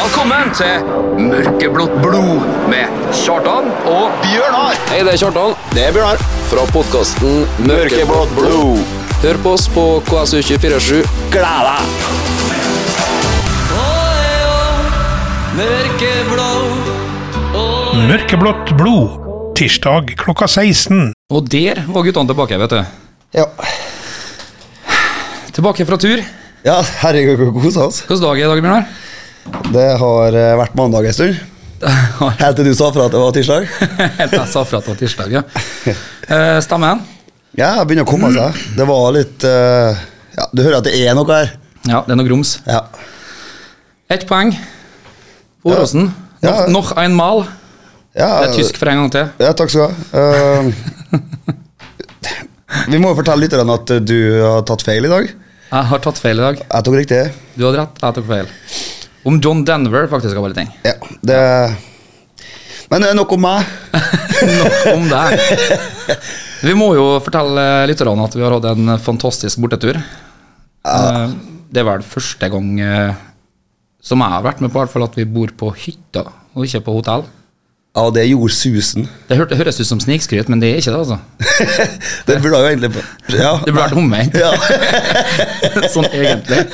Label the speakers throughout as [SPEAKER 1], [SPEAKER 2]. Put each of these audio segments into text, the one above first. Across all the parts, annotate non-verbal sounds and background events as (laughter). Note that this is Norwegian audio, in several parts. [SPEAKER 1] Velkommen til Mørkeblått blod med Kjartan og
[SPEAKER 2] Bjørnar
[SPEAKER 3] Hei, det er Kjartan.
[SPEAKER 2] Det er Bjørnar
[SPEAKER 3] Fra podkasten
[SPEAKER 2] Mørkeblått blod
[SPEAKER 3] Hør på oss på KSU247.
[SPEAKER 2] Gled deg
[SPEAKER 4] Mørkeblått blod, tirsdag klokka 16.
[SPEAKER 1] Og der var guttene tilbake, vet du.
[SPEAKER 5] Ja.
[SPEAKER 1] Tilbake fra tur.
[SPEAKER 5] ja, herregud, hvor kosa oss.
[SPEAKER 1] Hvilken dag er i dag, Bjørnar?
[SPEAKER 5] Det har eh, vært mandag en stund.
[SPEAKER 2] (laughs)
[SPEAKER 5] Helt til du sa fra at det var tirsdag.
[SPEAKER 1] (laughs) Helt til jeg sa fra at det var tirsdag, ja. Eh, Stemmer den?
[SPEAKER 5] Ja, jeg begynner å komme seg. Det var litt eh, ja, Du hører at det er noe her.
[SPEAKER 1] Ja, det er noe grums.
[SPEAKER 5] Ja.
[SPEAKER 1] Ett poeng. Åråsen.
[SPEAKER 5] Ja.
[SPEAKER 1] Noch- Noch ein mal.
[SPEAKER 5] ja
[SPEAKER 1] Det er tysk for en gang til.
[SPEAKER 5] Ja, takk skal du ha.
[SPEAKER 1] (laughs)
[SPEAKER 5] Eh, vi må jo fortelle lytterne at eh, du har tatt feil i dag.
[SPEAKER 1] Jeg har tatt feil i dag.
[SPEAKER 5] Jeg tok riktig.
[SPEAKER 1] Du hadde rett, jeg tok feil. Om John Denver, faktisk, av alle ting.
[SPEAKER 5] Ja, det Men det er nok om meg.
[SPEAKER 1] Nok om deg. Vi må jo fortelle eh, lytterne at vi har hatt en fantastisk bortetur. Eh, Det er vel første gang eh, som jeg har vært med på, i hvert fall at vi bor på hytta og ikke på hotell.
[SPEAKER 5] Ja, det gjorde susen.
[SPEAKER 1] Det hør- det høres ut som snikskryt, men det er ikke det, altså.
[SPEAKER 5] Det burde jo egentlig
[SPEAKER 1] (laughs)
[SPEAKER 5] Ja.
[SPEAKER 1] Det burde vært omvendt, (laughs)
[SPEAKER 5] ja. (laughs)
[SPEAKER 1] sånn egentlig.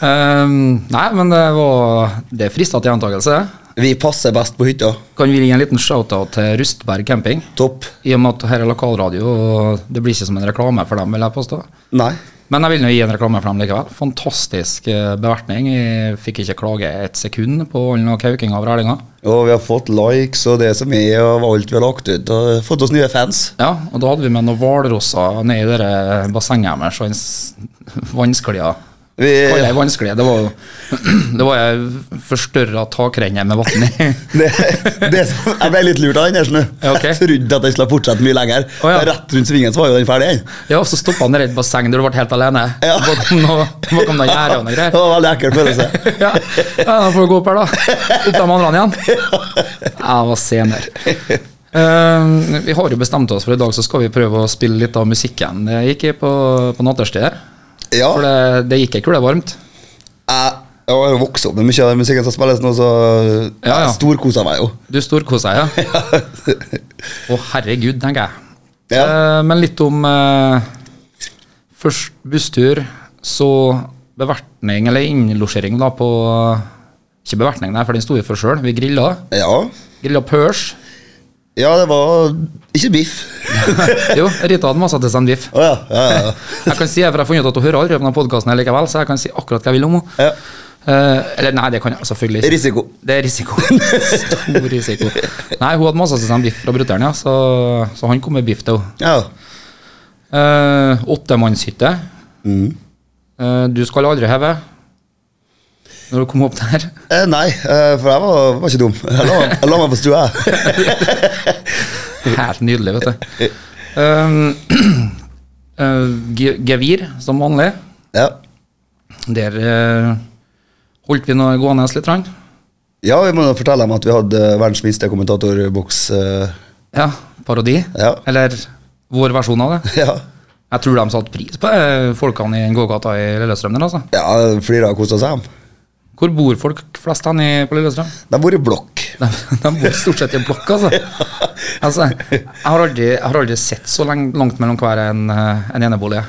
[SPEAKER 1] Ehm, nei, men det var Det frista til gjentakelse.
[SPEAKER 5] Vi passer best på hytta.
[SPEAKER 1] Kan vi gi en liten shout-out til Rustberg camping?
[SPEAKER 5] Topp.
[SPEAKER 1] I og med at her er lokalradio, og det blir ikke som en reklame for dem, vil jeg påstå.
[SPEAKER 5] Nei.
[SPEAKER 1] Men jeg vil nå gi en reklame for dem likevel. Fantastisk eh, bevertning. Jeg fikk ikke klage et sekund på all noe kauking av rælinga.
[SPEAKER 5] Og vi har fått likes og det som er, og alt vi har lagt ut. Og fått oss nye fans.
[SPEAKER 1] Ja, og da hadde vi med noen hvalrosser nedi det der bassenget deres og en s- vannsklia.
[SPEAKER 5] Vi,
[SPEAKER 1] Hva er ei vannsklie? Det var jo (clears throat) Det var ei forstørra takrenne med vann i.
[SPEAKER 5] (laughs)
[SPEAKER 1] (laughs)
[SPEAKER 5] det, det som, jeg ble litt lurt av den. her, skjønner du.
[SPEAKER 1] Ja, ok.
[SPEAKER 5] Jeg trodde at jeg skulle fortsette mye lenger.
[SPEAKER 1] Å, ja.
[SPEAKER 5] Rett rundt svingen så var jo den ferdig. den.
[SPEAKER 1] Ja, og så stoppa han i et basseng der du ble helt alene.
[SPEAKER 5] Ja.
[SPEAKER 1] Hva kom da gjerde og noe
[SPEAKER 5] (laughs) det
[SPEAKER 1] greier?
[SPEAKER 5] var en veldig ekkel følelse.
[SPEAKER 1] (laughs) Ja, ja da får vi gå opp her, da. Opp de andre igjen. Jeg var sen der. Eh, vi har jo bestemt oss for i dag så skal vi prøve å spille litt av musikken. Det gikk jeg på, på natterstid her.
[SPEAKER 5] Ja,
[SPEAKER 1] For det, det gikk ei kule varmt.
[SPEAKER 5] jeg, jeg har jo vokst opp med mye av den musikken som spilles nå, så
[SPEAKER 1] Ja, ja.
[SPEAKER 5] jeg storkosa meg jo. (laughs)
[SPEAKER 1] Du storkosa deg, ja? Å, herregud, tenker jeg.
[SPEAKER 5] Ja.
[SPEAKER 1] Eh, men litt om eh, først busstur, så bevertning, eller innlosjering, da, på Ikke bevertning, nei, for den sto vi for sjøl. Vi grilla.
[SPEAKER 5] ja.
[SPEAKER 1] Grilla pørs.
[SPEAKER 5] Ja, det var ikke biff. (laughs)
[SPEAKER 1] Jo, Rita hadde masse til seg en biff.
[SPEAKER 5] Å ja. Ja, ja, ja.
[SPEAKER 1] Jeg kan si for jeg har funnet ut at hun hører aldri på denne podkasten likevel, så jeg kan si akkurat hva jeg vil om henne.
[SPEAKER 5] Ja.
[SPEAKER 1] Eh, eller nei, det kan jeg selvfølgelig ikke.
[SPEAKER 5] Risiko.
[SPEAKER 1] Det er risiko. Stor risiko. Nei, hun hadde masse til seg en biff fra brutter'n, ja, så, så han kom med biff til henne.
[SPEAKER 5] ja.
[SPEAKER 1] Eh, Åttemannshytte.
[SPEAKER 5] Mm.
[SPEAKER 1] Eh, du skal aldri heve. Når du kom opp der.
[SPEAKER 5] Eh, nei, eh, for jeg var, var ikke dum. Jeg la, jeg la meg på stua, jeg.
[SPEAKER 1] Helt nydelig, vet du. Eh, eh, ge- gevir, som vanlig.
[SPEAKER 5] Ja.
[SPEAKER 1] Der eh, holdt vi nå gående litt. Rann.
[SPEAKER 5] Ja, vi må jo fortelle dem at vi hadde eh, verdens minste kommentatorboks. eh, (laughs)
[SPEAKER 1] Ja, parodi.
[SPEAKER 5] Ja.
[SPEAKER 1] Eller vår versjon av det.
[SPEAKER 5] Ja,
[SPEAKER 1] Jeg tror de satte pris på eh, folkene i gågata i Lillestrøm. Der, altså.
[SPEAKER 5] ja flere har kosa seg. dem.
[SPEAKER 1] Hvor bor folk flest hen i, på Lillestrøm? (laughs)
[SPEAKER 5] De bor i blokk.
[SPEAKER 1] De, de bor stort sett i en blokk, altså. altså jeg, har aldri, jeg har aldri sett så lang, langt mellom hver en, eh, en enebolig.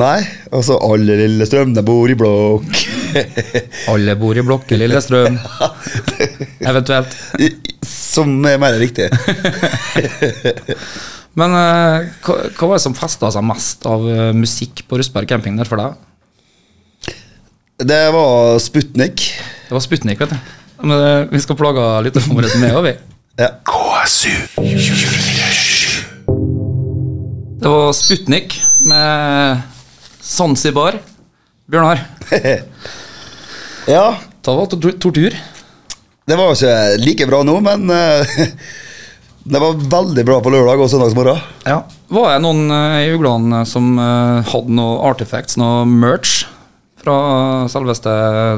[SPEAKER 5] Nei, altså alle Lillestrøm, de bor i blokk. (laughs)
[SPEAKER 1] Alle bor i blokk i Lillestrøm, eventuelt.
[SPEAKER 5] I- Som er mer riktig.
[SPEAKER 1] Men eh, hva, hva var det som festa seg mest av eh, musikk på Rustberg camping der for deg?
[SPEAKER 5] Det var Sputnik.
[SPEAKER 1] Det var Sputnik, vet du. Men eh, vi skal plage lytterne våre med, og vi.
[SPEAKER 5] Ja.
[SPEAKER 1] Det var Sputnik med Zanzibar. Bjørnar,
[SPEAKER 5] ja,
[SPEAKER 1] det var to- tortur.
[SPEAKER 5] det var jo ikke like bra nå, men eh, (laughs) det var veldig bra på lørdag og søndagsmorgen.
[SPEAKER 1] Ja. Var det noen eh, i uglene som eh, hadde noe artifacts, noe merch, fra selveste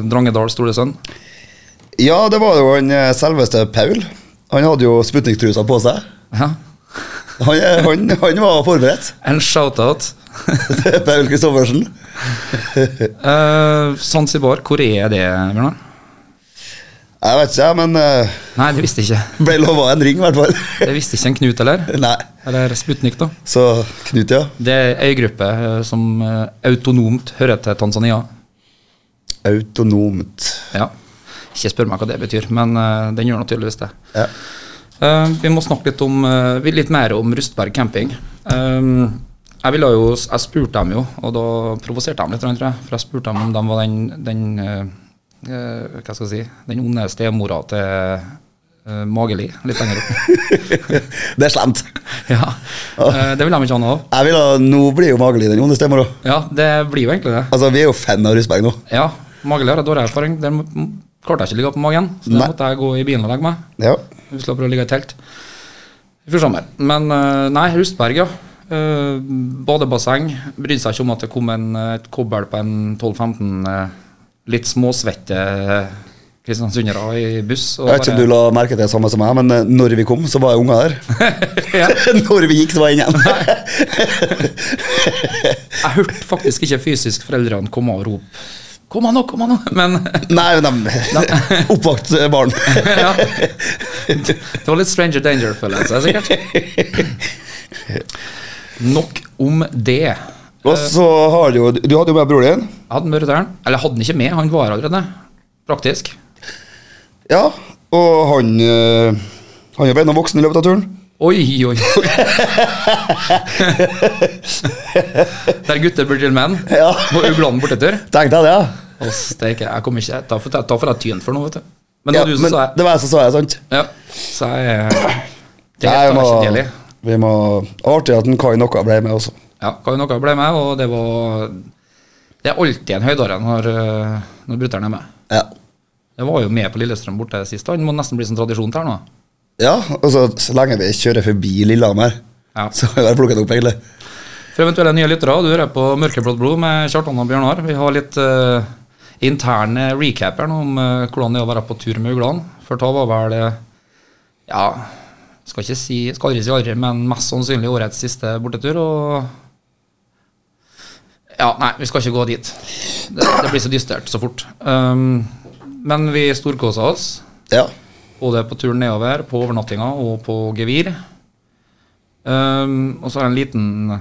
[SPEAKER 1] Drangedal store sønn?
[SPEAKER 5] Ja, det var jo han eh, selveste Paul. Han hadde jo Sputnik-trusa på seg.
[SPEAKER 1] Ja.
[SPEAKER 5] Han, eh, han, han var forberedt. (laughs)
[SPEAKER 1] En shout-out.
[SPEAKER 5] Paul Kristoffersen.
[SPEAKER 1] Eh, Zanzibar, hvor er det, Bjørnar?
[SPEAKER 5] Jeg vet ikke, jeg, men eh,
[SPEAKER 1] Nei, det visste jeg ikke.
[SPEAKER 5] ble lova en ring, i hvert fall. (laughs)
[SPEAKER 1] Det visste ikke en Knut heller.
[SPEAKER 5] Nei.
[SPEAKER 1] Eller Sputnik, da.
[SPEAKER 5] Så Knut, ja.
[SPEAKER 1] Det er ei gruppe eh, som eh, autonomt hører til Tanzania.
[SPEAKER 5] Autonomt.
[SPEAKER 1] Ja. Ikke spør meg hva det betyr, men eh, den gjør naturligvis det.
[SPEAKER 5] Ja. (laughs)
[SPEAKER 1] Eh, vi må snakke litt, om, eh, vi- litt mer om Rustberg camping. Um, jeg, ville jo, jeg spurte dem jo, og da provoserte jeg dem litt, tror jeg. For jeg spurte dem om de var den, den eh, eh, Hva skal jeg si Den onde stemora til eh, Mageli litt lenger
[SPEAKER 5] (laughs)
[SPEAKER 1] opp.
[SPEAKER 5] Det er slemt.
[SPEAKER 1] ja. Eh, det vil de ikke ha noe av.
[SPEAKER 5] Jeg vil ha, Nå blir jo Mageli den onde stemora.
[SPEAKER 1] Ja, det blir jo egentlig det.
[SPEAKER 5] Altså, vi er jo fan av Rusberg nå.
[SPEAKER 1] Ja, Mageli har jeg dårlig erfaring. Der m- m- klarte jeg ikke å ligge opp på magen, så da
[SPEAKER 5] Nei.
[SPEAKER 1] måtte jeg gå i bilen og legge meg.
[SPEAKER 5] Ja.
[SPEAKER 1] Vi slapp å ligge i telt. Vi får se mer. Men eh, nei, Rustberg, ja. Eh, badebasseng. Brydde seg ikke om at det kom en, eh, et kobbel på en 12-15 eh, litt småsvette eh, kristiansundere i buss. og
[SPEAKER 5] Jeg vet ikke om
[SPEAKER 1] bare-
[SPEAKER 5] du la merke til det samme som meg, men eh, når vi kom, så var unga der.
[SPEAKER 1] (laughs) ja.
[SPEAKER 5] (laughs) Når vi gikk, så var jeg inne igjen.
[SPEAKER 1] Jeg hørte faktisk ikke fysisk foreldrene komme og rope 'Kom an nå, kom an nå!' Men
[SPEAKER 5] (laughs)
[SPEAKER 1] (laughs)
[SPEAKER 5] Nei, men (laughs) de Oppvakt eh, (laughs) barn.
[SPEAKER 1] ja. Det var litt Stranger Danger-følelse, sikkert.
[SPEAKER 5] (laughs)
[SPEAKER 1] Nok om det. Jeg
[SPEAKER 5] Og så har du jo Du hadde jo med broren din.
[SPEAKER 1] hadde med rytteren. Eller jeg hadde den ikke med, han var her allerede. Praktisk.
[SPEAKER 5] Ja. Og han eh, Han er jo ennå voksen i løpet av turen.
[SPEAKER 1] Oi, oi, (laughs) oi. Der gutter blir til menn.
[SPEAKER 5] Ja.
[SPEAKER 1] På uglene bortetur.
[SPEAKER 5] Tenk deg det. ja.
[SPEAKER 1] Å, steike, jeg kommer ikke Da får jeg- da får jeg tyn for noe, vet du. Men det
[SPEAKER 5] Ja,
[SPEAKER 1] var du som
[SPEAKER 5] men
[SPEAKER 1] sa jeg.
[SPEAKER 5] det var jeg som sa det, sant?
[SPEAKER 1] Ja, så jeg Det
[SPEAKER 5] Nei,
[SPEAKER 1] er
[SPEAKER 5] vi
[SPEAKER 1] ikke
[SPEAKER 5] må-
[SPEAKER 1] deilig.
[SPEAKER 5] Vi må Artig at en Kai Nokka ble med også.
[SPEAKER 1] Ja, Kai Nokka ble med, og det var Det er alltid en høydare når, øh, når brutter'n er med.
[SPEAKER 5] Ja.
[SPEAKER 1] Jeg var jo med på Lillestrøm borte sist, han må nesten bli som tradisjon til her nå.
[SPEAKER 5] ja og så, så lenge vi kjører forbi Lillehammer,
[SPEAKER 1] Ja.
[SPEAKER 5] så har vi bare plukket opp, egentlig.
[SPEAKER 1] For eventuelle nye lyttere, du hører på Mørkeblått blod med Kjartan og Bjørnar. Vi har litt eh, intern eh, recap her nå om eh, hvordan det er å være på tur med uglene. For da var vel eh, Ja, skal ikke si skal aldri si aldri, men mest sannsynlig årets siste bortetur. Og Ja, nei, vi skal ikke gå dit. Det, det blir så dystert så fort. Um, men vi storkosa oss.
[SPEAKER 5] Ja.
[SPEAKER 1] Både på turen nedover, på overnattinga og på gevir. Ehm, og så har jeg en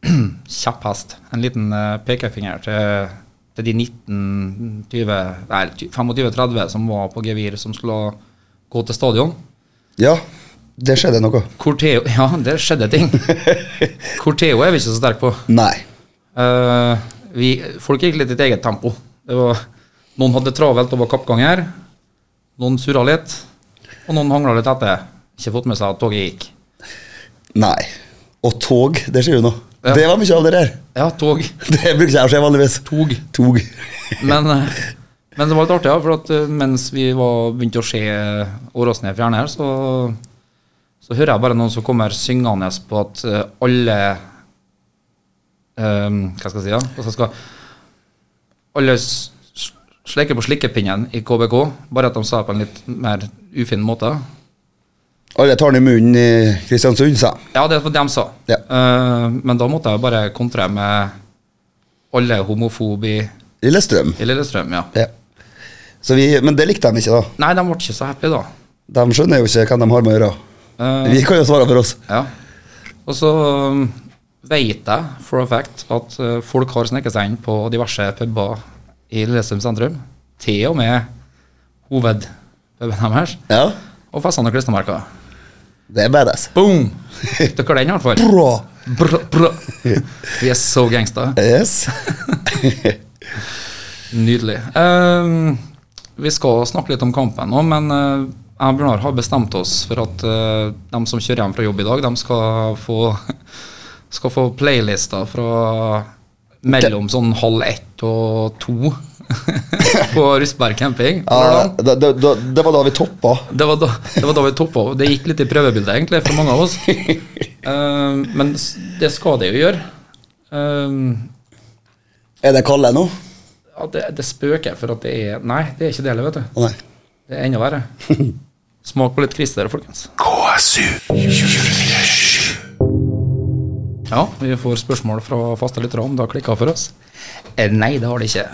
[SPEAKER 1] liten (clears throat) kjapp hest. En liten eh, pekefinger til, til de 19, 20, nei 25-30 som var på gevir, som skulle gå til stadion.
[SPEAKER 5] ja. Det skjedde noe.
[SPEAKER 1] Corteo, (laughs) ja, der skjedde ting. Corteo er vi ikke så sterke på.
[SPEAKER 5] Nei.
[SPEAKER 1] Eh, vi, folk gikk litt i et eget tempo. Det var, noen hadde travelt og var kappganger. Noen surra litt. Og noen hangla litt etter. Ikke fått med seg at toget gikk.
[SPEAKER 5] Nei. Og tog, det skjer jo nå.
[SPEAKER 1] Ja.
[SPEAKER 5] Det var mye av det der.
[SPEAKER 1] Ja, tog.
[SPEAKER 5] Det bruker ikke jeg å se vanligvis.
[SPEAKER 1] Tog.
[SPEAKER 5] Tog.
[SPEAKER 1] Men, eh, men det var litt artig, ja. For at eh, mens vi var begynte å se Åråsen i fjerne her, så, så hører jeg bare noen som kommer syngende på at eh, alle eh, Hva skal jeg si, da? Og så skal alle s- s- sleike på slikkepinnen i KBK, bare at de sa det på en litt mer ufin måte.
[SPEAKER 5] Alle tar den i munnen i Kristiansund, sa jeg.
[SPEAKER 1] Ja, det var det de sa.
[SPEAKER 5] Ja.
[SPEAKER 1] Eh, men da måtte jeg bare kontre med alle homofob i,
[SPEAKER 5] Lillestrøm.
[SPEAKER 1] i Lillestrøm, ja.
[SPEAKER 5] Ja. Så vi, men det likte de ikke, da.
[SPEAKER 1] Nei, de ble ikke så happy, da.
[SPEAKER 5] De skjønner jo ikke hva de har med å gjøre.
[SPEAKER 1] Eh,
[SPEAKER 5] Vi kan jo svare for oss.
[SPEAKER 1] Ja. Og så um, vet jeg for a fact at uh, folk har sneket seg inn på diverse puber i Lillestrøm sentrum. Til og med hovedpuben deres.
[SPEAKER 5] Ja.
[SPEAKER 1] Og festene og klistremerker.
[SPEAKER 5] Det er badass.
[SPEAKER 1] Boom! Dere har den i hvert fall.
[SPEAKER 5] Bra!
[SPEAKER 1] Brr, brr. Vi er så gangsta.
[SPEAKER 5] Yes.
[SPEAKER 1] Nydelig. Ehm, vi skal snakke litt om kampen nå, men eh, jeg og Bjørnar har bestemt oss for at eh, de som kjører hjem fra jobb i dag, de skal få, (laughs) skal få playlister fra mellom sånn halv ett og to (laughs) på Rustberg camping.
[SPEAKER 5] Ja, det, det, det, det var da vi toppa.
[SPEAKER 1] Det var, da, det var da vi toppa. Det gikk litt i prøvebildet, egentlig, for mange av oss. Ehm, men s- det skal det jo gjøre. Ehm,
[SPEAKER 5] Er det Kalle nå?
[SPEAKER 1] ja, det, det spøker for at det er Nei, det er ikke det heller, vet du.
[SPEAKER 5] Å nei.
[SPEAKER 1] Det er enda verre. (laughs) Smak på litt krister, folkens. Ja, vi får spørsmål fra faste lyttere om det har klikka for oss. Eh, nei, det har det ikke.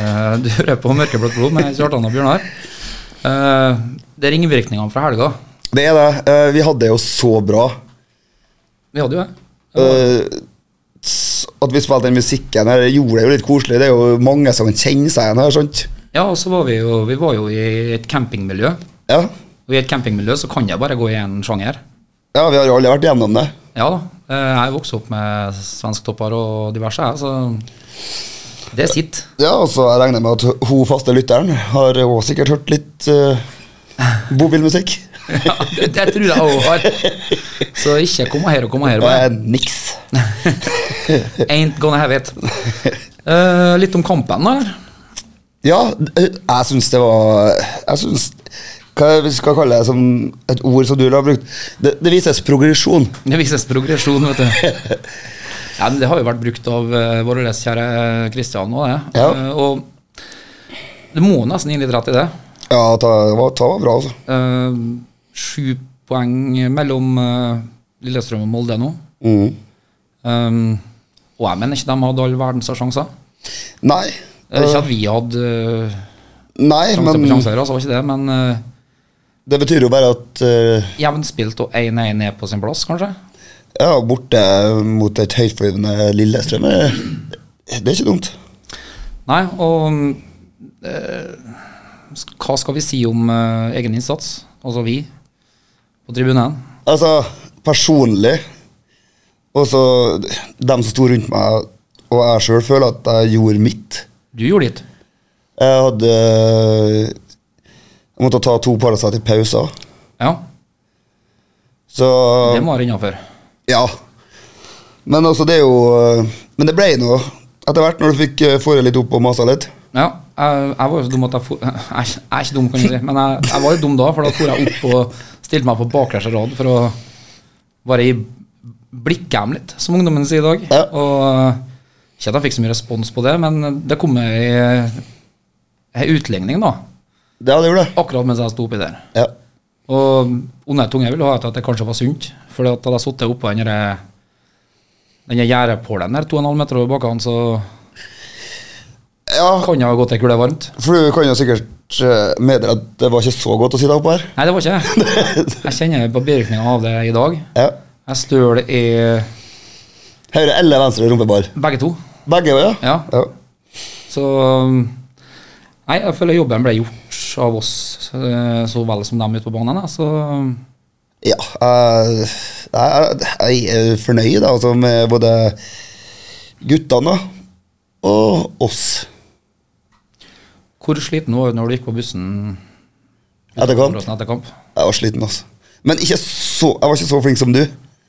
[SPEAKER 1] Eh, du hører på Mørkeblått blod med Kjartan og Bjørnar. Eh, det er ringvirkningene fra helga.
[SPEAKER 5] Det er det. Eh, vi hadde det jo så bra
[SPEAKER 1] Vi hadde jo det.
[SPEAKER 5] eh, s- at vi spilte den musikken her. Gjorde det jo litt koselig. Det er jo mange som kjenner seg igjen her, sant?
[SPEAKER 1] Ja, og så var vi jo, vi var jo i et campingmiljø.
[SPEAKER 5] Ja.
[SPEAKER 1] Og i et campingmiljø så kan jeg bare gå i én sjanger.
[SPEAKER 5] ja, vi har jo alle vært gjennom det.
[SPEAKER 1] Ja da. eh, Jeg er vokst opp med svensktopper og diverse, jeg, så det sitter.
[SPEAKER 5] Ja, og så regner jeg med at hun faste lytteren har også sikkert hørt litt uh, bobilmusikk.
[SPEAKER 1] (laughs) Ja, det, det tror jeg òg har. Så ikke kom her og kom her.
[SPEAKER 5] Det
[SPEAKER 1] Bare.
[SPEAKER 5] er Eh, niks.
[SPEAKER 1] (laughs) Ain't gonna have it. Eh, litt om kampen, da.
[SPEAKER 5] Ja, d- eh, jeg syns det var Jeg syns Hva vi skal kalle det som et ord som du har brukt? Det, det vises progresjon.
[SPEAKER 1] Det vises progresjon, vet du. Ja, men det har jo vært brukt av eh, vår alles kjære Kristian nå, det.
[SPEAKER 5] Ja.
[SPEAKER 1] Eh, og det må nesten gi litt rett i det.
[SPEAKER 5] Ja, ta var, ta var bra, altså.
[SPEAKER 1] Eh, Sju poeng mellom eh, Lillestrøm og Molde nå.
[SPEAKER 5] Mm.
[SPEAKER 1] Um, og jeg mener ikke de hadde all verdens sjanser.
[SPEAKER 5] Nei.
[SPEAKER 1] Det er
[SPEAKER 5] eh,
[SPEAKER 1] Ikke at vi hadde eh,
[SPEAKER 5] nei,
[SPEAKER 1] sjanser
[SPEAKER 5] men
[SPEAKER 1] på sjanser, altså, var ikke det, men eh,
[SPEAKER 5] det betyr jo bare at eh,
[SPEAKER 1] jevnspilt og 1-1 er på sin plass, kanskje.
[SPEAKER 5] Ja, borte mot et høytflyvende Lillestrøm eh, Det er ikke dumt.
[SPEAKER 1] Nei, og eh, sk- hva skal vi si om eh, egen innsats? Altså vi på tribunen.
[SPEAKER 5] Altså, personlig Og så dem som sto rundt meg, og jeg sjøl, føler at jeg gjorde mitt.
[SPEAKER 1] Du gjorde ditt.
[SPEAKER 5] Jeg hadde Jeg måtte ta to Paracet i pauser.
[SPEAKER 1] Ja,
[SPEAKER 5] Så
[SPEAKER 1] det må være innafor.
[SPEAKER 5] Ja. Men altså, det er jo Men det ble noe etter hvert, når du fikk eh, fore litt opp og masa litt.
[SPEAKER 1] Ja, jeg, jeg var jo så dum at jeg for, (laughs) jeg, er ikke- jeg er ikke dum, kan du si, men jeg, jeg var jo dum da, for da for jeg opp og stilte meg på bakreste rad for å bare i blikkem litt, som ungdommen sier i dag.
[SPEAKER 5] Ja.
[SPEAKER 1] Og eh, ikke at jeg fikk så mye respons på det, men det kom ei ei utligning, da,
[SPEAKER 5] Ja, det gjorde det.
[SPEAKER 1] akkurat mens jeg sto oppi der.
[SPEAKER 5] Ja.
[SPEAKER 1] Og onde tunge ville ha etter at det kanskje var sunt. For hadde jeg sittet oppå den der- den der gjerdepålen der, 2,5 meter over bakken, så
[SPEAKER 5] ja,
[SPEAKER 1] kan jeg ha gått ei kule varmt.
[SPEAKER 5] for du kan jo sikkert eh, medre at det var ikke så godt å sitte oppå her.
[SPEAKER 1] Nei, det var ikke jeg. Jeg kjenner på bivirkningene av det i dag.
[SPEAKER 5] Ja.
[SPEAKER 1] Jeg støl i
[SPEAKER 5] Høyre eller venstre rumpebar?
[SPEAKER 1] begge to.
[SPEAKER 5] Begge, ja.
[SPEAKER 1] Ja.
[SPEAKER 5] ja.
[SPEAKER 1] Så Nei, jeg føler jobben ble gjort av oss eh, så vel som dem ute på banen. da. Så
[SPEAKER 5] Ja, eh, jeg, jeg jeg er fornøyd da, altså, med både guttene og oss
[SPEAKER 1] hvor sliten var du når du gikk på bussen
[SPEAKER 5] etter kamp.
[SPEAKER 1] etter kamp?
[SPEAKER 5] Jeg var sliten, altså. Men ikke så, jeg var ikke så flink som du.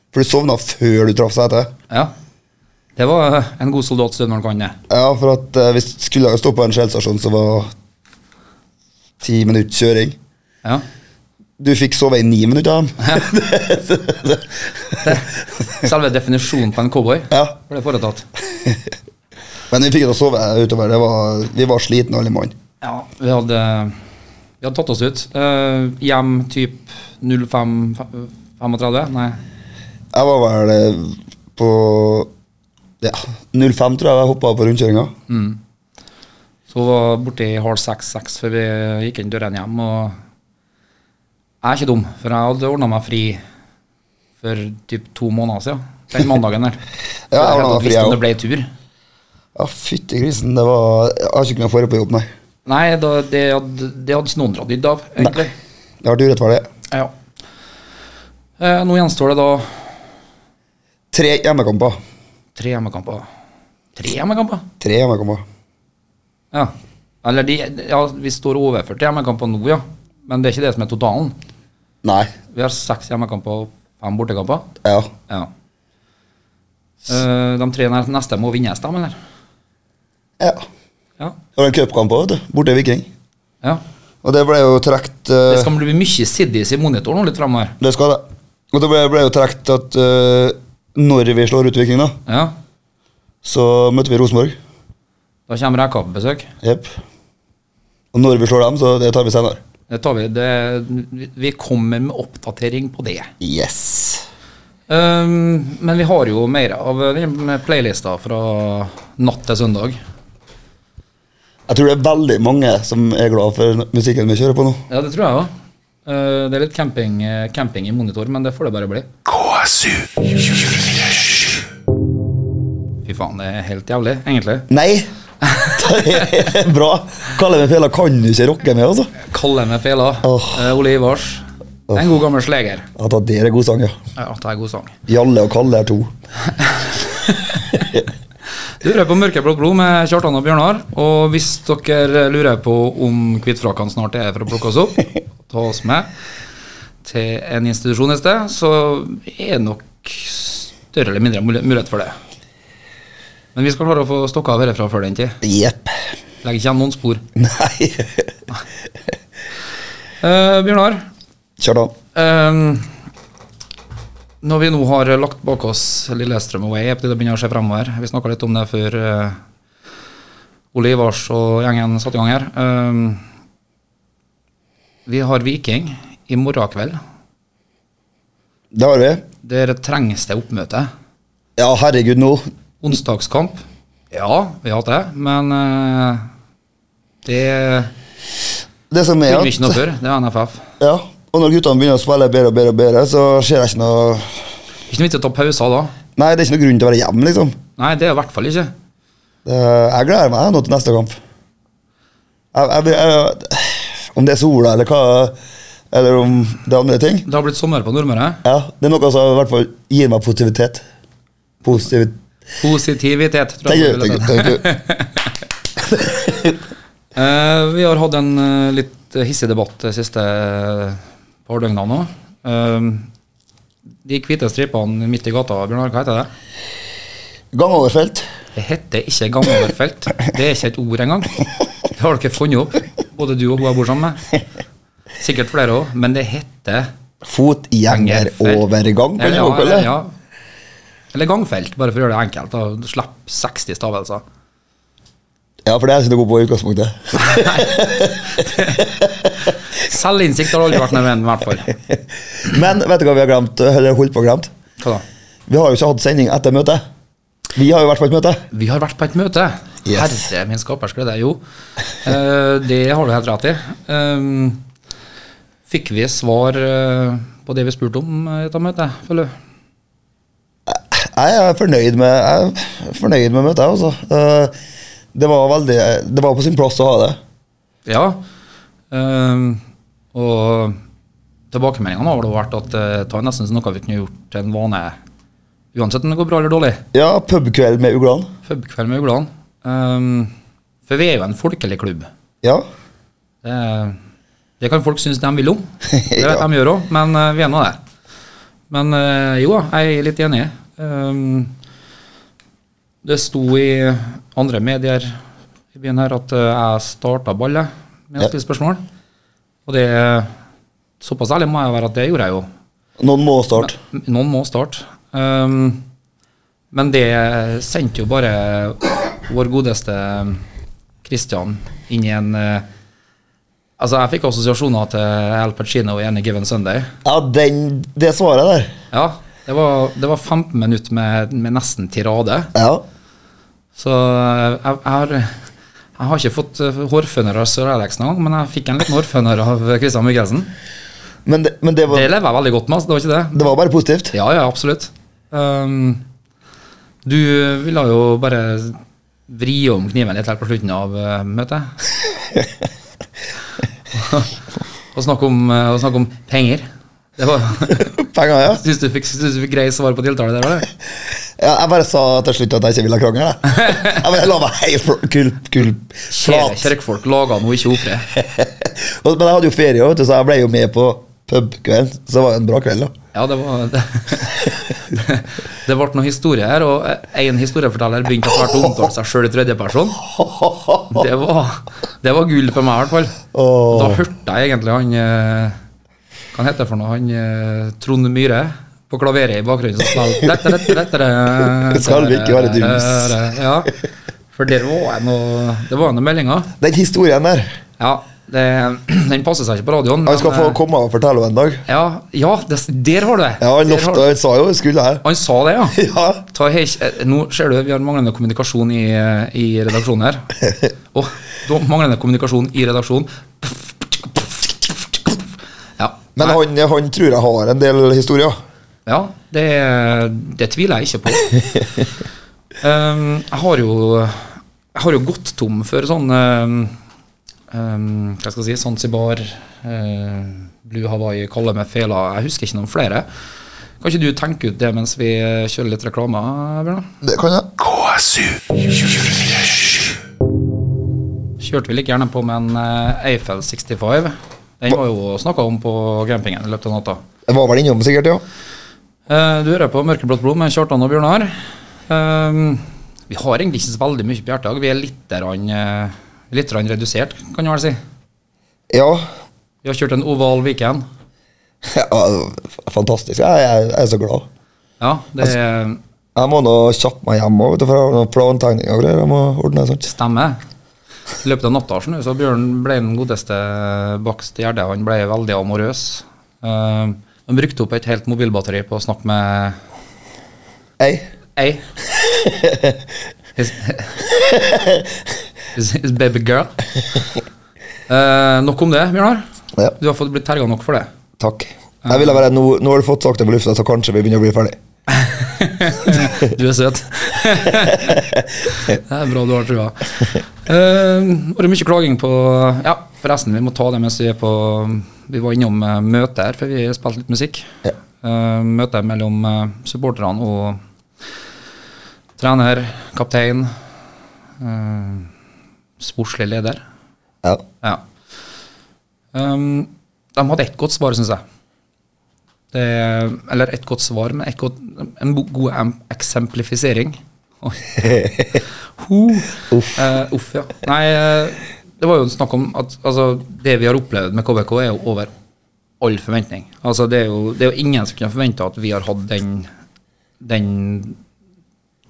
[SPEAKER 5] For du sovna før du traff seg etter.
[SPEAKER 1] Ja. Det var en god soldatstund når han kan det.
[SPEAKER 5] Ja, for at eh, vi skulle jo stå på en skjellstasjon som var ti minutter kjøring.
[SPEAKER 1] Ja.
[SPEAKER 5] Du fikk sove i ni minutter. Ja.
[SPEAKER 1] Selve definisjonen på en cowboy
[SPEAKER 5] ja.
[SPEAKER 1] ble foretatt.
[SPEAKER 5] Men vi fikk ikke sove utover. Det var, vi var slitne, alle mann.
[SPEAKER 1] Ja, vi hadde, vi hadde tatt oss ut. Eh, hjem typ 05.35? Nei.
[SPEAKER 5] Jeg var vel eh, på ja, 05, tror jeg jeg hoppa på rundkjøringa.
[SPEAKER 1] Så var borte i halv seks-seks før vi gikk inn dørene hjem. Og jeg er ikke dum, for jeg hadde ordna meg fri for typ to måneder siden. Den mandagen der.
[SPEAKER 5] Ja, jeg
[SPEAKER 1] Så helt
[SPEAKER 5] ordnet meg fri,
[SPEAKER 1] visste
[SPEAKER 5] jeg
[SPEAKER 1] om
[SPEAKER 5] også.
[SPEAKER 1] det ble tur.
[SPEAKER 5] Ja, fytti grisen. Det var, jeg har ikke kunnet få det på jobb, nei.
[SPEAKER 1] Nei, da, det, hadde, det hadde ikke noen dratt nytte av, egentlig.
[SPEAKER 5] Det har vært urettferdig.
[SPEAKER 1] Ja. Eh, nå gjenstår det da
[SPEAKER 5] Tre hjemmekamper.
[SPEAKER 1] Tre hjemmekamper. Tre hjemmekamper?
[SPEAKER 5] Tre hjemmekamper.
[SPEAKER 1] Ja. Eller de, ja, vi står overført til hjemmekamper nå, ja. Men det er ikke det som er totalen.
[SPEAKER 5] Nei.
[SPEAKER 1] Vi har seks hjemmekamper og fem bortekamper.
[SPEAKER 5] Ja.
[SPEAKER 1] Ja. Eh, de tre nær- neste må vinnes, dem, eller?
[SPEAKER 5] Ja.
[SPEAKER 1] Ja.
[SPEAKER 5] Det var en cupkamp òg, borte i Viking.
[SPEAKER 1] ja.
[SPEAKER 5] Og det ble jo trukket
[SPEAKER 1] Det
[SPEAKER 5] eh,
[SPEAKER 1] skal bli mye siddies i monitoren nå litt fremover.
[SPEAKER 5] Det skal det. Og det ble, ble jo trukket at eh, når vi slår ut Viking, da,
[SPEAKER 1] Ja.
[SPEAKER 5] så møter vi Rosenborg.
[SPEAKER 1] Da kommer Reka på besøk.
[SPEAKER 5] Jepp. Og når vi slår dem, så det tar vi senere.
[SPEAKER 1] Det tar vi. Det, vi- vi kommer med oppdatering på det.
[SPEAKER 5] Yes.
[SPEAKER 1] Ehm, men vi har jo mer av den playlista fra natt til søndag.
[SPEAKER 5] Jeg tror det er veldig mange som er glad for musikken vi kjører på nå.
[SPEAKER 1] Ja, det tror jeg òg. Det er litt camping, eh, camping i monitor, men det får det bare bli.
[SPEAKER 4] KSU.
[SPEAKER 1] Fy faen, det er helt jævlig, egentlig.
[SPEAKER 5] Nei! (laughs) Det er bra. Kalle meg fela kan du ikke rocke med, altså.
[SPEAKER 1] Kalle meg fela.
[SPEAKER 5] Åh.
[SPEAKER 1] Eh, Ole Ivars. En god gammel sleger.
[SPEAKER 5] Ja, da, det er god sang, ja.
[SPEAKER 1] Ja, det er god sang.
[SPEAKER 5] Jalle og Kalle er to.
[SPEAKER 1] Du hører på Mørkeblått blod med Kjartan og Bjørnar. Og hvis dere lurer på om hvitfrakkene snart er her for å plukke oss opp, ta oss med til en institusjon et sted, så er det nok større eller mindre mul- mulighet for det. Men vi skal klare å få stokka av herfra før den tid.
[SPEAKER 5] Jepp.
[SPEAKER 1] Legger ikke igjen noen spor.
[SPEAKER 5] Nei.
[SPEAKER 1] Eh, Bjørnar,
[SPEAKER 5] Kjartan.
[SPEAKER 1] eh, når vi nå har lagt bak oss Lillestrøm Away, er det på tide å begynne å se fremover. Vi snakka litt om det før eh, Ole Ivars og gjengen satte i gang her. Eh, vi har Viking i morgen kveld.
[SPEAKER 5] Det har vi.
[SPEAKER 1] Der trengs det oppmøte.
[SPEAKER 5] Ja, herregud, nå.
[SPEAKER 1] Onsdagskamp. Ja, vi har hatt det, men eh, det
[SPEAKER 5] Det som er
[SPEAKER 1] kunne vi ikke noe
[SPEAKER 5] at
[SPEAKER 1] før. Det er NFF.
[SPEAKER 5] ja, Og når guttene begynner å spille bedre og bedre, og bedre, så ser jeg ikke noe
[SPEAKER 1] Ikke noe vits i å ta pauser da.
[SPEAKER 5] Nei, det er ikke noe grunn til å være hjemme, liksom.
[SPEAKER 1] Nei, det er i hvert fall ikke.
[SPEAKER 5] Det, jeg gleder meg nå til neste kamp. Jeg, jeg, jeg, om det er sola eller hva, eller om det er andre ting
[SPEAKER 1] Det har blitt sommer på Nordmøre.
[SPEAKER 5] Ja, Det er noe som i hvert fall gir meg positivitet. Positivitet
[SPEAKER 1] Positivitet, tror
[SPEAKER 5] Thank
[SPEAKER 1] jeg.
[SPEAKER 5] you,
[SPEAKER 1] man ville
[SPEAKER 5] thank you,
[SPEAKER 1] sagt.
[SPEAKER 5] thank you.
[SPEAKER 1] Eh, vi har hatt en eh, litt hissig debatt de siste eh, par døgna nå. Eh, de hvite stripene midt i gata, Bjørnar, hva heter det?
[SPEAKER 5] Gangoverfelt.
[SPEAKER 1] Det heter ikke gangoverfelt. Det er ikke et ord engang. Det har dere funnet opp, både du og hun jeg bor sammen med. Sikkert flere òg, men det heter
[SPEAKER 5] Fotgjengerovergang. kan
[SPEAKER 1] Eller,
[SPEAKER 5] det
[SPEAKER 1] ja,
[SPEAKER 5] også kalle
[SPEAKER 1] eller,
[SPEAKER 5] det.
[SPEAKER 1] ja. eller gangfelt, bare for å gjøre det enkelt. Da. Slipp 60 stavelser.
[SPEAKER 5] Ja, for det er jeg ikke noe god på i utgangspunktet.
[SPEAKER 1] Selvinnsikt har aldri vært nødvendig, i hvert fall.
[SPEAKER 5] Men vet du hva vi har glemt? Eller holdt på å glemt?
[SPEAKER 1] Hva da?
[SPEAKER 5] Vi har jo ikke hatt sending etter møtet. Vi har jo i hvert fall et møte.
[SPEAKER 1] Vi har vært på et møte.
[SPEAKER 5] Yes.
[SPEAKER 1] Herre min skapers glede. Jo, eh, det har du helt rett i. Ehm, fikk vi svar eh, på det vi spurte om eh, i dette møtet, føler du?
[SPEAKER 5] Jeg er fornøyd med, jeg er fornøyd med møtet, altså. Eh, Det var, veldig, det var på sin plass å ha det.
[SPEAKER 1] Ja. ehm, og tilbakemeldingene har vel vært at det tar nesten som noe vi kunne gjort til en vane, uansett om det går bra eller dårlig.
[SPEAKER 5] Ja, pubkveld med uglene.
[SPEAKER 1] Pubkveld med uglene. Ehm, for vi er jo en folkelig klubb.
[SPEAKER 5] Ja.
[SPEAKER 1] Det, Eh, det kan folk synes de vil
[SPEAKER 5] (laughs)
[SPEAKER 1] om. Det vet
[SPEAKER 5] Ja.
[SPEAKER 1] de gjør òg, men eh, vi er nå der. Men eh, jo, jeg er litt enig. Um, det sto i andre medier i byen her at eh, jeg starta ballet med
[SPEAKER 5] Ja.
[SPEAKER 1] å stille spørsmål. Og det Såpass ærlig må jeg være at det gjorde jeg jo.
[SPEAKER 5] Noen må starte.
[SPEAKER 1] Noen må starte. Um, men det sendte jo bare vår godeste ehm, Christian inn i en eh, Altså, jeg fikk assosiasjoner til Al Pacino i Any Given Sunday.
[SPEAKER 5] Ja, den, det svaret der.
[SPEAKER 1] Ja, det var, det var 15 minutter med, med nesten tirade.
[SPEAKER 5] Ja.
[SPEAKER 1] Så jeg, jeg, har, jeg har ikke fått eh, hårføner av Sir Alex noen gang, men jeg fikk en liten hårføner av Christian Michelsen.
[SPEAKER 5] Men, det, men det,
[SPEAKER 1] Det
[SPEAKER 5] var,
[SPEAKER 1] lever jeg veldig godt med, altså. Det var ikke det.
[SPEAKER 5] det var bare (laughs) positivt.
[SPEAKER 1] Ja, ja, absolutt. Ehm, du ville jo bare vri om kniven litt her på slutten av eh, (laughs) møtet. og snakke om, eh, og snakke om penger. Det var, (laughs)
[SPEAKER 5] Penger, ja.
[SPEAKER 1] synes du fikk, synes du fikk grei svar på tiltale der, var det?
[SPEAKER 5] ja. Jeg bare sa til slutt at jeg ikke ville krangle. Jeg,
[SPEAKER 1] (laughs)
[SPEAKER 5] jeg bare la meg helt fl- kul, kul,
[SPEAKER 1] (laughs) Kjære
[SPEAKER 5] flat.
[SPEAKER 1] kjerkfolk laga noe ikke ofre.
[SPEAKER 5] (laughs) Og- Men jeg hadde jo ferie, vet du, så jeg ble jo med på pubkvelden. Så det var en bra kveld, da.
[SPEAKER 1] Ja, det var Det, det (laughs) ble noen historier her, og én historieforteller begynte etter hvert å omtale seg sjøl i (laughs) tredjeperson. Det var, det var gull for meg, i hvert fall.
[SPEAKER 5] Åh.
[SPEAKER 1] Da hørte jeg egentlig han eh, Hva han heter for noe? Han eh, Trond Myhre på klaveret i bakgrunnen som spilte Dette, dette, dette,
[SPEAKER 5] (laughs)
[SPEAKER 1] dette,
[SPEAKER 5] Skal vi ikke være dus?
[SPEAKER 1] Ja. For der var jeg noe Det var noen meldinger.
[SPEAKER 5] Den historien der.
[SPEAKER 1] Ja. Det, den passer seg ikke på radioen.
[SPEAKER 5] Han skal
[SPEAKER 1] men,
[SPEAKER 5] få
[SPEAKER 1] eh,
[SPEAKER 5] komme og fortelle en dag.
[SPEAKER 1] Ja, ja det, der har du det.
[SPEAKER 5] Ja,
[SPEAKER 1] Der har
[SPEAKER 5] Han
[SPEAKER 1] du
[SPEAKER 5] lovte,
[SPEAKER 1] det.
[SPEAKER 5] han sa jo han skulle her. (laughs)
[SPEAKER 1] Han sa det, ja.
[SPEAKER 5] Ja.
[SPEAKER 1] Ta hei, eh, nå ser du, vi har manglende kommunikasjon i, eh, i redaksjonen
[SPEAKER 5] (laughs)
[SPEAKER 1] her. Åh, da- manglende kommunikasjon i redaksjonen. Ja.
[SPEAKER 5] Men
[SPEAKER 1] Nei,
[SPEAKER 5] han, han tror jeg har en del historier.
[SPEAKER 1] ja det, det tviler jeg ikke på. Um, jeg har jo Jeg har jo gått tom for sånn um, um, Hva skal jeg si Zanzibar, eh, Blue Hawaii, kalle meg fela. Jeg husker ikke noen flere. Kan ikke du tenke ut det mens vi eh, kjører litt reklame, Bjørnar?
[SPEAKER 5] Det kan jeg.
[SPEAKER 4] KSU 247.
[SPEAKER 1] Kjørte vi like gjerne på med en eh, Eiffel 65. Den var jo snakka om på campingen i løpet av natta.
[SPEAKER 5] Jeg var vel innom sikkert, ja.
[SPEAKER 1] Eh, Du hører på Mørkeblått blod med Kjartan og Bjørnar. Ehm, Vi har egentlig ikke så veldig mye på hjertet. Vi er litt, rann, eh, litt rann redusert, kan du vel si.
[SPEAKER 5] Ja.
[SPEAKER 1] Vi har kjørt en oval weekend.
[SPEAKER 5] (laughs) ja fantastisk. Jeg, jeg, jeg er så glad.
[SPEAKER 1] Ja, det
[SPEAKER 5] Jeg må nå kjappe meg hjem òg, for jeg har noen plantegninger og greier. Jeg må ordne sånt.
[SPEAKER 1] stemmer. I løpet av natta skjønner du, så Bjørn ble den godeste bakst i gjerdet. Han ble veldig amorøs. Ehm, Han brukte opp et helt mobilbatteri på å snakke med
[SPEAKER 5] Hei.
[SPEAKER 1] Hey. His, his, his baby girl. Eh, nok om det, Bjørnar.
[SPEAKER 5] Ja,
[SPEAKER 1] Du har fått blitt terga nok for det.
[SPEAKER 5] takk. Jeg ville bare, nå, nå har du fått sagt det på lufta, så kanskje vi begynner å bli ferdig.
[SPEAKER 1] (laughs) Du er søt. det er bra du har trua. Eh, var det mye klaging på Ja, forresten, vi må ta det mens vi er på Vi var innom eh, møtet her, for vi spilte litt musikk.
[SPEAKER 5] Ja.
[SPEAKER 1] Eh, møtet mellom eh, supporterne og trener, kaptein, eh, sportslig leder.
[SPEAKER 5] Ja.
[SPEAKER 1] Ja. Ehm, de hadde ett godt svar, syns jeg. Det, eller ett godt svar, men ett godt, en bo- god em- eksemplifisering. Oi. Ho. Eh, uff, ja. Nei, eh, det var jo snakk om at altså, det vi har opplevd med KBK, er jo over all forventning. Altså, det, er jo, det er jo ingen som kunne forvente at vi har hatt den, den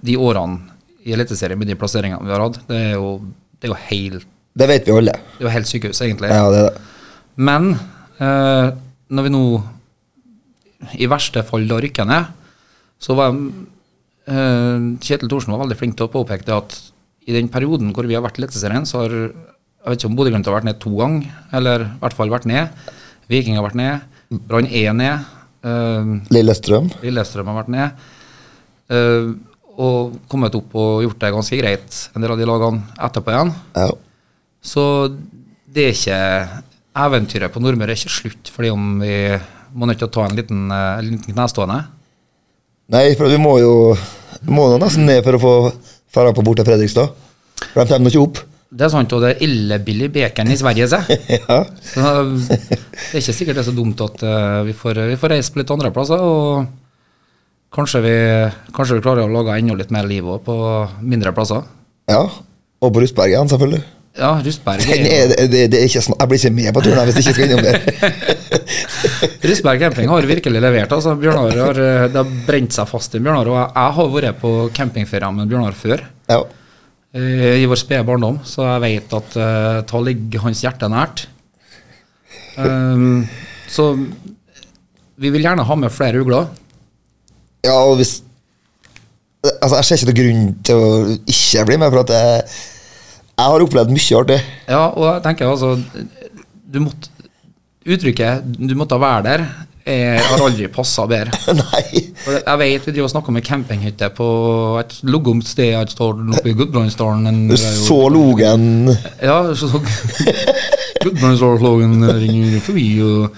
[SPEAKER 1] de årene i Eliteserien med de plasseringene vi har hatt. Det er jo, det er jo helt
[SPEAKER 5] Det vet vi alle.
[SPEAKER 1] det er jo helt sykehus, egentlig.
[SPEAKER 5] Ja, det er det.
[SPEAKER 1] Men eh, når vi nå i verste fall da rykker ned, så var eh, Kjetil Thorsen var veldig flink til å påpeke det at i den perioden hvor vi har vært i Eliteserien, så har jeg vet ikke om Bodø-Glimt har vært ned to ganger, eller i hvert fall vært ned. Viking har vært ned. Brann er ned. Eh,
[SPEAKER 5] Lillestrøm.
[SPEAKER 1] Lillestrøm har vært ned. Eh, og kommet opp og gjort det ganske greit, en del av de lagene etterpå igjen.
[SPEAKER 5] Ja.
[SPEAKER 1] Så det er ikke Eventyret på Nordmøre er ikke slutt fordi om vi må nødt til å ta en liten, eh, en liten knestående.
[SPEAKER 5] Nei, for vi må jo vi må nå nesten ned for å få ferda på bort til Fredrikstad. For de kommer nå ikke opp.
[SPEAKER 1] Det er sant, og det er illebillig bacon i Sverige, se.
[SPEAKER 5] Ja.
[SPEAKER 1] Så det er ikke sikkert det er så dumt at eh, vi får, vi får reise på litt andre plasser. Og kanskje vi, kanskje vi klarer å lage enda litt mer liv òg på mindre plasser.
[SPEAKER 5] ja. Og på Rustbergen, selvfølgelig.
[SPEAKER 1] Ja, Rustberg
[SPEAKER 5] Den (laughs)
[SPEAKER 1] er jo-
[SPEAKER 5] er, det, det er ikke sånn, jeg blir ikke med på turen her hvis jeg ikke skal innom der.
[SPEAKER 1] Rustberg camping har virkelig levert. altså. Bjørnar har, eh, Det har brent seg fast i Bjørnar. Og jeg, jeg har vært på campingferie med Bjørnar før.
[SPEAKER 5] Ja.
[SPEAKER 1] eh, i vår spede barndom, så jeg vet at eh, ta ligger hans hjerte nært. Ehm, så vi vil gjerne ha med flere ugler.
[SPEAKER 5] ja, og hvis Altså, jeg ser ikke noen grunn til å ikke bli med, for at jeg, jeg har opplevd mye artig.
[SPEAKER 1] Ja, og jeg tenker altså du måtte, Uttrykket 'du måtte være der' eh, har aldri passa bedre.
[SPEAKER 5] (laughs) Nei.
[SPEAKER 1] Og Jeg vet vi driver og snakker om ei campinghytte på et lugumt sted et sted oppe i Gudbrandsdalen. en-
[SPEAKER 5] Du så logen
[SPEAKER 1] Ja, så Gudbrandsdalslågen ringer forbi og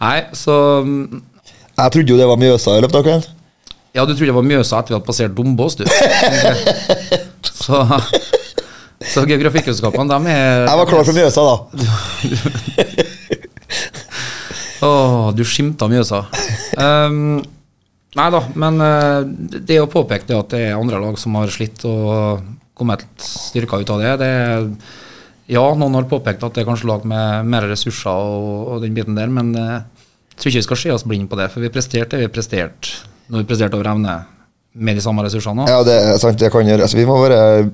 [SPEAKER 1] Nei, så mm,
[SPEAKER 5] Jeg trodde jo det var Mjøsa i løpet av kvelden.
[SPEAKER 1] Ja, du trodde det var Mjøsa etter vi hadde passert Dombås,
[SPEAKER 5] (laughs)
[SPEAKER 1] du. Så, så geografikkunnskapene, de er
[SPEAKER 5] Jeg var klar for Mjøsa, da.
[SPEAKER 1] Å, du skimta Mjøsa. Um, nei da, men eh, det å påpeke det at det er andre lag som har slitt og kommet styrka ut av det, det er Ja, noen har påpekt at det er kanskje lag med mer ressurser og, og den biten der, men eh, jeg tror ikke vi skal se oss blind på det, for vi presterte det vi presterte når vi presterte over evne med de samme ressursene.
[SPEAKER 5] Ja, det er sant, det kan gjøre. Altså, vi må bare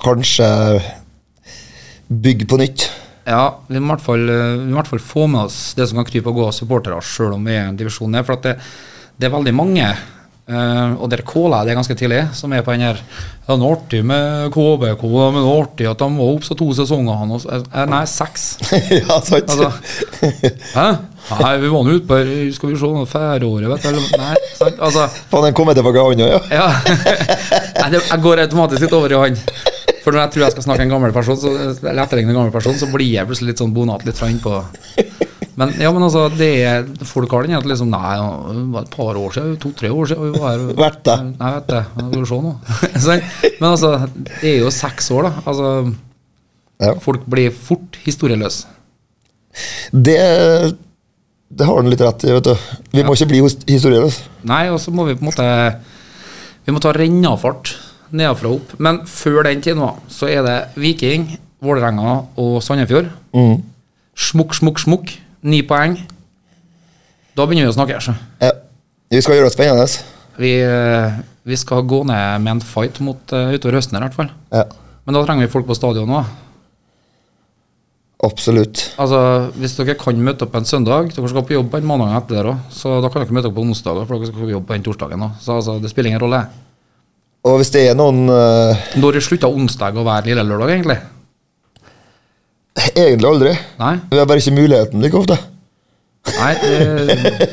[SPEAKER 5] kanskje bygge på nytt. (laughs)
[SPEAKER 1] Ja, vi må, i hvert fall, eh, vi må i hvert fall få med oss det som kan krype og gå av supportere, sjøl om vi er en divisjon ned. For at det, det er veldig mange, eh, og der kåla jeg det ganske tidlig, som er på den her Ja, det er artig med KBK, men det er artig at de var oppe så to sesonger, han og så- eh, Nei, seks.
[SPEAKER 5] ja, sant?
[SPEAKER 1] Altså, Hæ? Nei, vi var nå ute på her, Skal vi se, nå, færeåret, vet du. eller- Nei, sant? Altså
[SPEAKER 5] (laughs) Faen, den kommer tilbake, han òg, ja.
[SPEAKER 1] (laughs) ja. Nei, det, jeg går automatisk litt over i han. For når jeg tror jeg skal snakke en gammel person, så, eller etterligne en gammel person, så blir jeg plutselig litt sånn bonat litt fra innpå. Men ja, men altså, det er, folk har den igjen at liksom Nei, ja, det var et par år siden, to-tre år siden vi var
[SPEAKER 5] (laughs)
[SPEAKER 1] her.
[SPEAKER 5] Vært det.
[SPEAKER 1] Nei, vet det. Nå Skal du se nå. (laughs) Så, Men altså, det er jo seks år, da. Altså,
[SPEAKER 5] Ja.
[SPEAKER 1] folk blir fort historieløse.
[SPEAKER 5] Det, det har han litt rett i, vet du. Vi må ikke bli hos- altså. historieløse.
[SPEAKER 1] Nei, og så må vi på en måte Vi må ta rennafart nedenfra og opp. Men før den tid nå, så er det Viking, Vålerenga og Sandefjord. Smukk, smukk, smukk. Ni poeng. Da begynner vi å snakke. Så.
[SPEAKER 5] Ja. Vi skal gjøre det spennende. altså.
[SPEAKER 1] Vi, eh, vi skal gå ned med en fight mot eh, utover høsten her, i hvert fall.
[SPEAKER 5] Ja,
[SPEAKER 1] Men da trenger vi folk på stadion òg.
[SPEAKER 5] absolutt.
[SPEAKER 1] Altså, hvis dere kan møte opp en søndag Dere skal på jobb en mandag etter der også, så da kan dere møte opp på onsdager, for dere skal på jobb på den torsdagen òg. Så altså, det spiller ingen rolle.
[SPEAKER 5] Og hvis det er noen eh,
[SPEAKER 1] Når slutta onsdag å være lille lørdag, egentlig?
[SPEAKER 5] Egentlig aldri.
[SPEAKER 1] Nei.
[SPEAKER 5] Vi har bare ikke muligheten like ofte.
[SPEAKER 1] Nei det,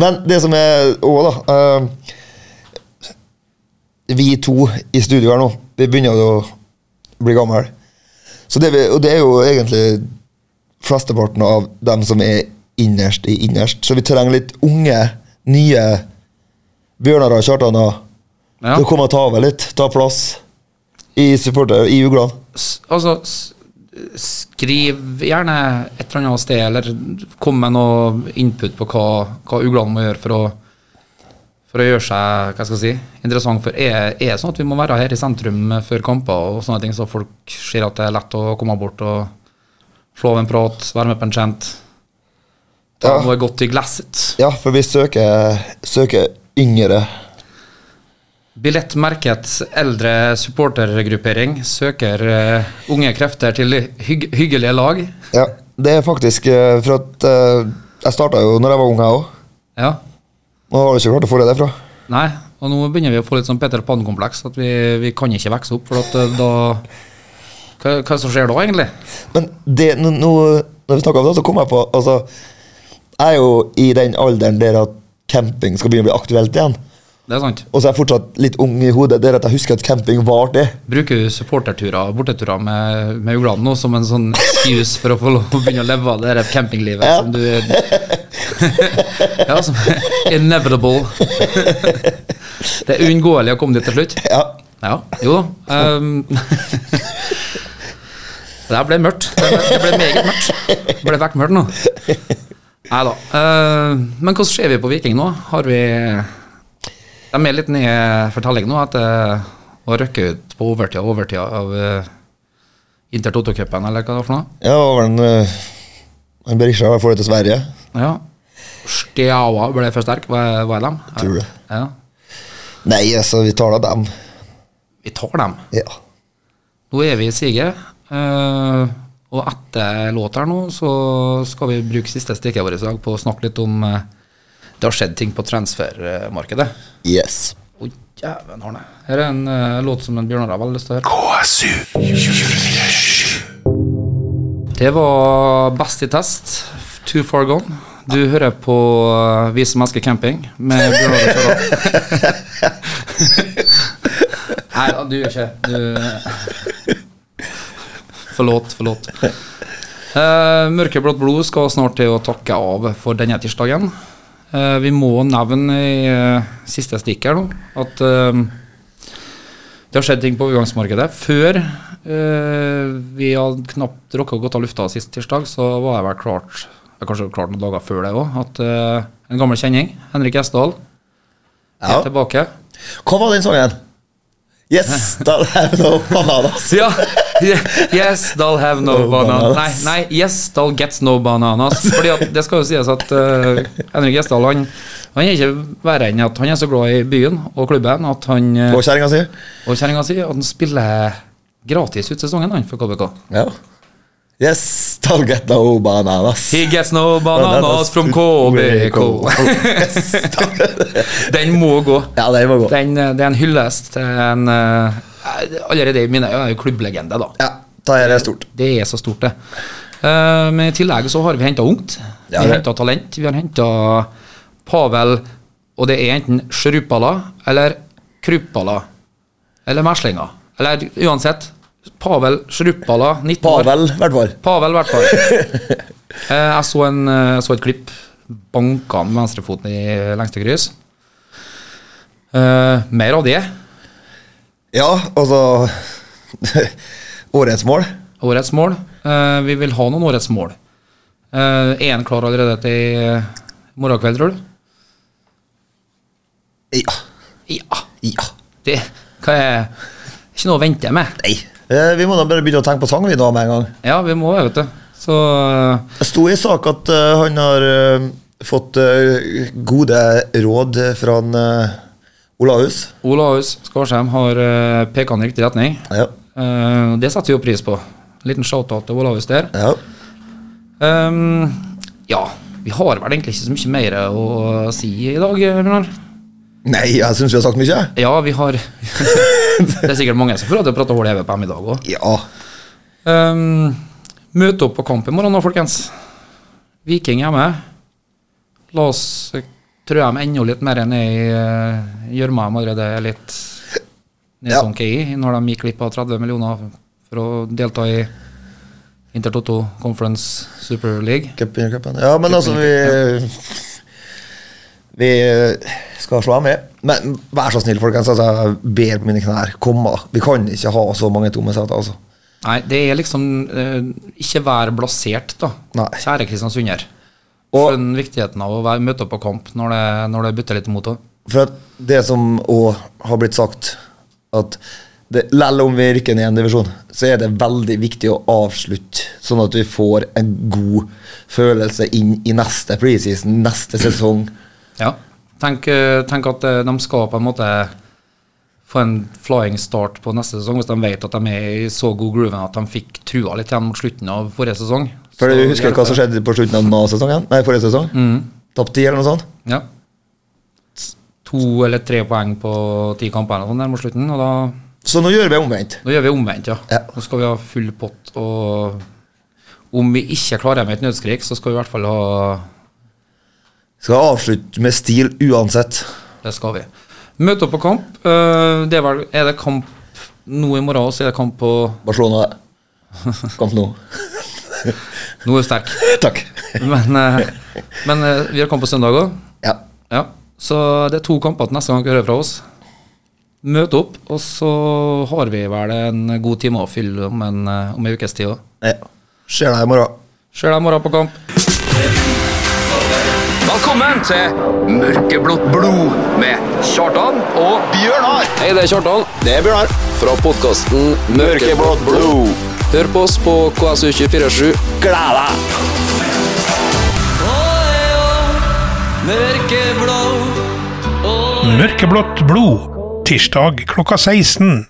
[SPEAKER 5] Men det som er òg, da eh, Vi to i studio her nå, vi begynner jo å bli gamle. Så det vi, og det er jo egentlig flesteparten av dem som er innerst i innerst. Så vi trenger litt unge, nye Bjørnar og Kjartan og
[SPEAKER 1] ja.
[SPEAKER 5] til å komme og ta over litt. Ta plass i supporter, i uglene.
[SPEAKER 1] S- Altså, s- skriv gjerne et eller annet sted, eller kom med noe input på hva, hva uglene må gjøre for å, for å gjøre seg hva skal jeg si, interessant. For er er det sånn at vi må være her i sentrum før kamper, og sånne ting, så folk ser at det er lett å komme bort og slå av en prat, være med på en chant? Ta
[SPEAKER 5] Ja.
[SPEAKER 1] noe godt i glasset.
[SPEAKER 5] Ja, for vi søker, søker yngre.
[SPEAKER 1] Billett merket eldre supportergruppering søker eh, unge krefter til hygg hyggelige lag.
[SPEAKER 5] Ja, det er faktisk eh, for at eh, jeg starta jo når jeg var ung, jeg òg.
[SPEAKER 1] Ja,
[SPEAKER 5] Nå har du ikke klart å få det derfra.
[SPEAKER 1] nei, og nå begynner vi å få litt sånn Peter Pan-kompleks, at vi, vi kan ikke vokse opp, for at eh, da hva, hva som skjer da, egentlig?
[SPEAKER 5] Men det, nå, nå, når vi snakker om det, så kom jeg på altså, Jeg er jo i den alderen der at camping skal begynne å bli aktuelt igjen.
[SPEAKER 1] Det er sant.
[SPEAKER 5] Og så er jeg fortsatt litt ung i hodet. Det er at jeg husker at camping var det.
[SPEAKER 1] Bruker du supporterturer og borteturer med, med uglene nå som en sånn excuse for å få lov å begynne å leve av det der campinglivet
[SPEAKER 5] Ja.
[SPEAKER 1] som du (laughs) Ja, som Inevitable. det er uunngåelig å komme dit til slutt.
[SPEAKER 5] Ja,
[SPEAKER 1] Ja, jo da. ehm, det her ble mørkt. Det ble, det ble meget mørkt. Det ble vekk mørkt nå. Nei da. ehm, men hvordan ser vi på Viking nå? Har vi De er litt ned for telling nå etter å rykke ut på overtida overtida av uh, Inter Toto-cupen, eller hva det var for noe.
[SPEAKER 5] ja det var vel en eh, En Berisha får det til Sverige.
[SPEAKER 1] Ja. Stjaua ble for sterk, hva hva er dem?
[SPEAKER 5] Tror det.
[SPEAKER 1] Ja.
[SPEAKER 5] Nei, altså, vi tar da dem.
[SPEAKER 1] Vi tar dem.
[SPEAKER 5] Ja.
[SPEAKER 1] Nå er vi i siget, eh, og etter låt her nå, så skal vi bruke siste stikket vårt i dag på å snakke litt om eh, Det har skjedd ting på transfermarkedet.
[SPEAKER 5] Yes.
[SPEAKER 1] Å, jæven, Arne. Her er en eh, låt som en Bjørnar har veldig lyst til å høre.
[SPEAKER 4] KSU 247.
[SPEAKER 1] Det var Best i test, Too Far Gone. Du hører på eh, Vi som elsker camping med Bjørnar og Kjartan. (laughs) Nei da, du gjør ikke Du Forlåt, forlåt. Eh, Mørkeblått blod skal snart til å takke av for denne tirsdagen. Eh, vi må nevne i eh, siste stikk her nå at eh, det har skjedd ting på overgangsmarkedet. Før eh, vi hadde knapt rukket å gå av lufta sist tirsdag, så var jeg vel klart jeg kanskje var klart noen dager før det òg, at eh, en gammel kjenning, Henrik Gjesdal,
[SPEAKER 5] Ja.
[SPEAKER 1] er tilbake.
[SPEAKER 5] Hva var den sangen? Yes, da (laughs) er det noe bananas.
[SPEAKER 1] Ja! (laughs) Yes, Dahl have no
[SPEAKER 5] No
[SPEAKER 1] bananas. Nei,
[SPEAKER 5] bananas.
[SPEAKER 1] nei, yes, Dahl gets no bananas. Fordi at det skal jo sies at eh, Henrik Gjesdal han, han er ikke verre enn at han er så glad i byen og klubben at han, eh,
[SPEAKER 5] Og kjerringa si?
[SPEAKER 1] og kjerringa si, at han spiller gratis ut sesongen han for KBK.
[SPEAKER 5] Ja. Yes, I'll get no bananas.
[SPEAKER 1] He gets no bananas from KBK.
[SPEAKER 5] E
[SPEAKER 1] Den må gå.
[SPEAKER 5] (laughs) ja, den var god.
[SPEAKER 1] Den, eh, det er en hyllest til en eh, Allerede i mine øyne er jo klubblegende, da.
[SPEAKER 5] Ja, da er det stort.
[SPEAKER 1] Det er så stort, det. Eh, Men i tillegg så har vi henta ungt. Vi
[SPEAKER 5] Ja,
[SPEAKER 1] har
[SPEAKER 5] det-
[SPEAKER 1] henta talent. Vi har henta Pavel, og det er enten Shrupala eller Krupala eller meslinger. Eller uansett. Pavel Shrupala, 19 år.
[SPEAKER 5] Pavel, i hvert fall.
[SPEAKER 1] Pavel, i hvert fall. (laughs) Eh, Jeg så, en, eh, jeg så et klipp. Banka han med venstrefoten i lengste kryss. Eh, mer av det.
[SPEAKER 5] Ja, altså (laughs) Årets mål.
[SPEAKER 1] Årets mål. Eh, vi vil ha noen årets mål. Én klar allerede til eh, morgen kveld, tror du?
[SPEAKER 5] Ja.
[SPEAKER 1] Ja.
[SPEAKER 5] Ja.
[SPEAKER 1] Det hva er ikke noe å vente med.
[SPEAKER 5] Nei. Eh, Vi må da bare begynne å tenke på sang vi da med en gang.
[SPEAKER 1] Ja, vi må det, vet du. Så eh,
[SPEAKER 5] Det sto i sak at eh, han har eh, fått eh, gode råd fra en, eh, Olaus.
[SPEAKER 1] Ola Haus Skarsheim har eh, pekt han i riktig retning.
[SPEAKER 5] Ja.
[SPEAKER 1] Eh, det setter vi jo pris på. Liten shout-out til Ola Haus der.
[SPEAKER 5] ja.
[SPEAKER 1] Ehm, ja, vi har vel egentlig ikke så mye mer å si i dag, Bjørnar.
[SPEAKER 5] Nei, jeg syns vi har sagt mye. jeg.
[SPEAKER 1] Ja, vi har (laughs) Det er sikkert mange som får lov til å prate hull i hodet på dem i dag òg.
[SPEAKER 5] Ja.
[SPEAKER 1] Ehm, møte opp på kamp i morgen da, folkens. Viking hjemme. La oss eh, trø dem enda litt mer ned i eh, gjørma de allerede er litt nedsunket i, når de gikk glipp av 30 millioner for å delta i Intertoto Conference Super League.
[SPEAKER 5] Cup under cupen. Ja, men altså, vi (laughs) Vi eh, skal slå dem i. Men vær så snill, folkens. Altså, jeg ber på mine knær. Kom, da. Vi kan ikke ha så mange tomme seter, altså.
[SPEAKER 1] Nei, det er liksom eh, Ikke vær blasert, da.
[SPEAKER 5] Nei.
[SPEAKER 1] Kjære Kristiansunder.
[SPEAKER 5] Og-
[SPEAKER 1] Skjønn viktigheten av å være, møte opp på kamp når det, når det butter litt imot òg.
[SPEAKER 5] For at det som òg har blitt sagt, at det, lell om vi rykker ned en divisjon, så er det veldig viktig å avslutte, sånn at vi får en god følelse inn i neste preseason, neste sesong.
[SPEAKER 1] Ja. Tenk, eh, tenk at eh, de skal på en måte få en flying start på neste sesong, hvis de vet at de er i så god groove at de fikk trua litt igjen mot slutten av forrige sesong.
[SPEAKER 5] For
[SPEAKER 1] Så
[SPEAKER 5] du husker hva som
[SPEAKER 1] hjelper
[SPEAKER 5] skjedde på slutten av Nav-sesongen? Nei, forrige sesong? Tapt ti, eller noe sånt?
[SPEAKER 1] det. Ja. To eller tre poeng på ti kamper eller noe sånt der mot slutten, og da,
[SPEAKER 5] Så nå gjør vi omvendt.
[SPEAKER 1] da gjør vi omvendt, ja.
[SPEAKER 5] Ja.
[SPEAKER 1] Nå skal vi ha full pott, og om vi ikke klarer med et nødskrik, så skal vi i hvert fall ha
[SPEAKER 5] Skal avslutte med stil uansett.
[SPEAKER 1] Det skal vi. Møte opp på kamp. Eh, Det er, vel, er det kamp nå i morgen, og så er det kamp på
[SPEAKER 5] Barcelona, kamp nå.
[SPEAKER 1] Nå er du sterk.
[SPEAKER 5] Takk.
[SPEAKER 1] Men, eh, men eh, vi har kamp på søndag òg.
[SPEAKER 5] Ja.
[SPEAKER 1] Ja. Så det er to kamper til neste gang dere hører fra oss. Møt opp, og så har vi vel en god time å fylle om en, eh, om en ukes tid òg.
[SPEAKER 5] ja. Ser deg i morgen.
[SPEAKER 1] Ser deg i morgen på kamp. Velkommen til Mørkeblått blod med Kjartan og
[SPEAKER 2] Bjørnar!
[SPEAKER 3] Hei, det er Kjartan.
[SPEAKER 2] Det er Bjørnar.
[SPEAKER 3] Fra podkasten Mørkeblå.
[SPEAKER 2] Mørkeblått blod.
[SPEAKER 3] Hør på oss på KSU247.
[SPEAKER 2] Gleda!
[SPEAKER 4] Mørkeblått blod. Tirsdag klokka 16.